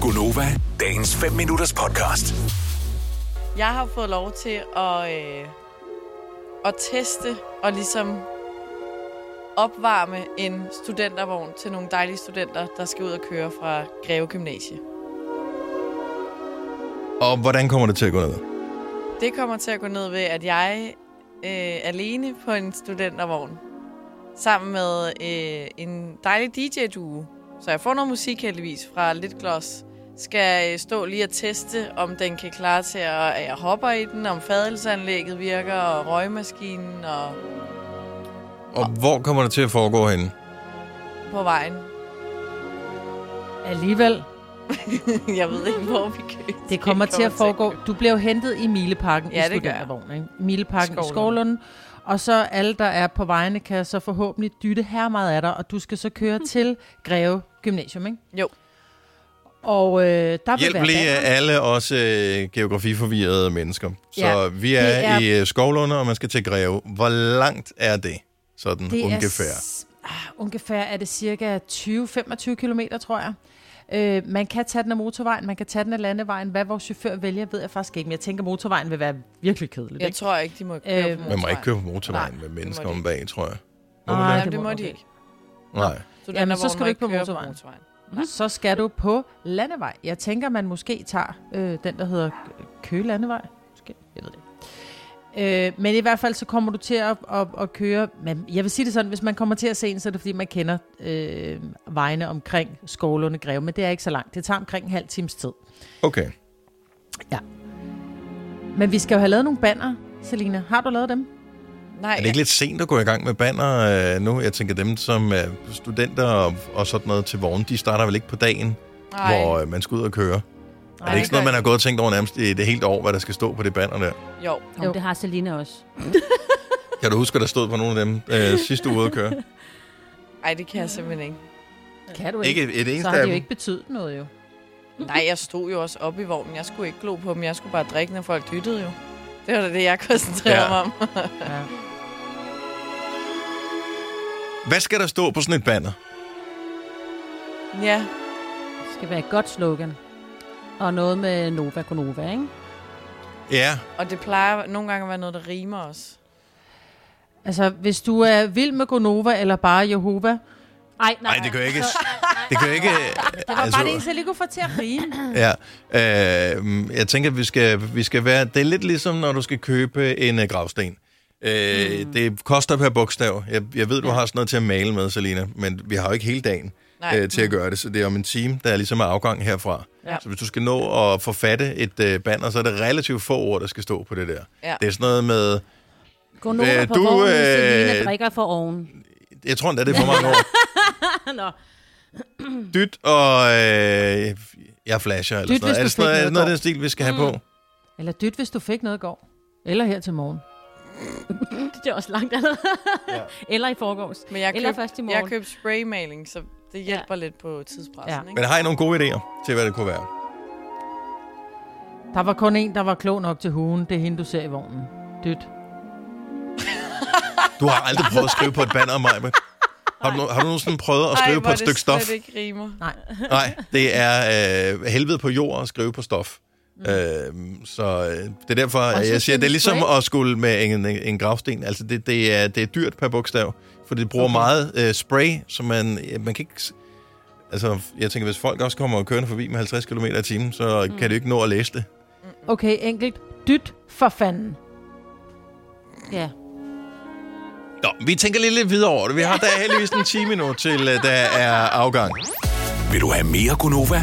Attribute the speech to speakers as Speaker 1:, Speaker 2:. Speaker 1: Gunova, dagens 5 minutters podcast.
Speaker 2: Jeg har fået lov til at, øh, at teste og ligesom opvarme en studentervogn til nogle dejlige studenter, der skal ud og køre fra Greve Gymnasie.
Speaker 3: Og hvordan kommer det til at gå ned?
Speaker 2: Det kommer til at gå ned ved, at jeg øh, alene på en studentervogn, sammen med øh, en dejlig DJ-duo, så jeg får noget musik heldigvis fra Litgloss, skal øh, stå lige og teste, om den kan klare til, at, at jeg hopper i den, om fadelsanlægget virker, og røgmaskinen, og
Speaker 3: Og hvor kommer det til at foregå henne?
Speaker 2: på vejen.
Speaker 4: Alligevel,
Speaker 2: jeg ved ikke, hvor vi kører.
Speaker 4: det kommer til at foregå. Du blev hentet i Mileparken
Speaker 2: Ja,
Speaker 4: ja, i
Speaker 2: det gør jeg.
Speaker 4: studentervognen. ikke? Mileparken i
Speaker 2: Skovlund.
Speaker 4: Skovlunden. Og så alle, der er på vejene, kan så forhåbentlig dytte her meget af dig, og du skal så køre til Greve Gymnasium, ikke?
Speaker 2: Jo.
Speaker 4: Og øh, der vil
Speaker 3: Hjælp
Speaker 4: være
Speaker 3: lige
Speaker 4: bander.
Speaker 3: alle os øh, geografiforvirrede mennesker. Så ja,
Speaker 4: Ja,
Speaker 3: vi er, er
Speaker 4: det er-
Speaker 3: i øh, Skovlunde, og man skal til Greve. Hvor langt er det? Sådan det ungefær.
Speaker 4: Er, s- ah, ungefær er det cirka 20-25 km, tror jeg. Øh, man kan tage den af motorvejen, man kan tage den af landevejen. Hvad vores chauffør vælger, ved jeg faktisk ikke. Men jeg tænker, motorvejen vil være virkelig kedelig.
Speaker 2: Jeg tror ikke, de må køre
Speaker 4: Øh,
Speaker 2: på
Speaker 3: Man må ikke
Speaker 2: motorvejen.
Speaker 3: køre på motorvejen
Speaker 2: Nej,
Speaker 3: med
Speaker 2: det
Speaker 3: mennesker
Speaker 2: må de
Speaker 3: om bag, tror jeg. Må
Speaker 4: Nej,
Speaker 3: du
Speaker 2: Jamen, det må de
Speaker 4: du godt.
Speaker 2: ikke.
Speaker 3: det? Nej.
Speaker 4: Jamen, så
Speaker 2: Studentervogn
Speaker 4: skal
Speaker 2: må
Speaker 4: du ikke på
Speaker 2: køre
Speaker 4: motorvejen. så skal du på landevej. Jeg tænker, man måske tager øh, den, der hedder Køge Landevej. Måske. Jeg ved det ikke. Øh, men i hvert fald så kommer du til at, at, at køre men Jeg vil sige det sådan, hvis man kommer til at se en Så er det fordi man kender øh, Vejene omkring Skovlunde Greve Men det er ikke så langt, det tager omkring en halv times tid
Speaker 3: Okay.
Speaker 4: Men vi skal jo have lavet nogle banner Selina, har du lavet dem?
Speaker 2: Nej,
Speaker 3: Er det ikke lidt sent at gå i gang med banner øh, nu? Jeg tænker, dem som er studenter og, og sådan noget til vogn, de starter vel ikke på dagen,
Speaker 2: nej.
Speaker 3: hvor øh, man skal ud og køre.
Speaker 2: nej,
Speaker 3: Er det ikke sådan noget, man har gået og tænkt over nærmest i det hele år, hvad der skal stå på det banner der?
Speaker 2: Jo,
Speaker 5: Jo,
Speaker 4: Jo.
Speaker 5: jo. det har Selina også.
Speaker 3: Kan du huske, at der stod på nogle af dem øh, sidste uge ude at køre?
Speaker 2: nej, det kan jeg simpelthen ikke.
Speaker 4: Kan du
Speaker 3: Ikke et
Speaker 4: Så
Speaker 3: eneste
Speaker 4: har
Speaker 3: af
Speaker 4: det jo
Speaker 3: dem.
Speaker 4: ikke betydet noget jo
Speaker 2: Nej, jeg stod jo også oppe i vognen. Jeg skulle ikke glo på dem. Jeg skulle bare drikke, når folk dyttede jo. Det var da det, jeg koncentrerede
Speaker 3: Ja.
Speaker 2: ja. mig om.
Speaker 4: ja.
Speaker 3: Hvad skal der stå på sådan et banner?
Speaker 2: ja,
Speaker 5: Det skal være et godt slogan. Og noget med Nova Konova, ikke?
Speaker 3: Ja,
Speaker 2: og det plejer nogle gange at være noget, der rimer også.
Speaker 4: Altså hvis du er vild med Gonova Eller bare Jehova
Speaker 5: Ej, nej,
Speaker 3: nej, det kan jo ikke... Det kan jo ikke... Det
Speaker 4: Det var altså, bare det eneste, jeg lige kunne få til at rime.
Speaker 3: Ja, øh, mm, jeg tænker, vi skal, vi skal være... Det er lidt ligesom, når du skal købe en øh, gravsten. Øh, mm. Det koster per bogstav. Jeg, jeg ved, du har sådan noget til at male med, Selina, men vi har jo ikke hele dagen
Speaker 2: Nej.
Speaker 3: øh, til at gøre det, så det er om en time, der er ligesom er afgang herfra.
Speaker 2: Ja.
Speaker 3: Så hvis du skal nå at forfatte et øh, banner, så er det relativt få ord, der skal stå på det der.
Speaker 2: Ja.
Speaker 3: Det er sådan noget med...
Speaker 5: Gå Nova
Speaker 3: Øh,
Speaker 5: på
Speaker 3: du,
Speaker 5: du, vognen,
Speaker 3: øh,
Speaker 5: Selina drikker for oven.
Speaker 3: Jeg tror endda, det er for mange ord.
Speaker 5: Nå,
Speaker 3: Dyt og... Øh, jeg flasher, eller
Speaker 4: Dyt,
Speaker 3: sådan noget. Er det
Speaker 4: hvis du
Speaker 3: sådan noget, er det
Speaker 4: fik
Speaker 3: noget af
Speaker 4: noget
Speaker 3: den stil, vi skal have på?
Speaker 4: Eller dyt, hvis du fik noget i går. Eller her til morgen.
Speaker 5: det er også langt allerede. ja. Eller i forgårs.
Speaker 2: Men jeg
Speaker 5: Eller
Speaker 2: køb,
Speaker 5: først i morgen.
Speaker 2: jeg købte spraymaling, så det hjælper lidt på tidspressen.
Speaker 4: Ja.
Speaker 2: Ikke?
Speaker 3: Men har I nogle gode idéer til, hvad det kunne være?
Speaker 4: Der var kun en, der var klog nok til hugen. Det er hende, du ser i vognen. Dyt.
Speaker 3: Du har aldrig prøvet at skrive på et banner om mig, men... Har du, no- har du nogensinde prøvet at skrive Ej,
Speaker 2: hvor
Speaker 3: på
Speaker 2: er
Speaker 3: et stykke
Speaker 2: det
Speaker 3: stof?
Speaker 2: slet ikke rimer.
Speaker 4: Nej.
Speaker 3: Nej, det er øh, helvede på jord at skrive på stof. Mm. Øh, så øh, det er derfor, at
Speaker 4: så
Speaker 3: jeg siger,
Speaker 4: skal
Speaker 3: det er
Speaker 4: vi
Speaker 3: ligesom
Speaker 4: spray.
Speaker 3: at skulle med en, en, en gravsten. Altså, det, det, er, det er dyrt per bogstav, for det bruger okay. meget øh, spray, så man, ja, man kan ikke... s- Altså, jeg tænker, hvis folk også kommer kørende forbi med 50 km i timen, så mm. kan de ikke nå at læse det.
Speaker 4: Okay, enkelt. Dyt for fanden.
Speaker 5: Ja.
Speaker 3: Nå, vi tænker lidt, lidt videre over det. Vi har da heldigvis en time nu, til øh, der er afgang.
Speaker 1: Vil du have mere Gunova?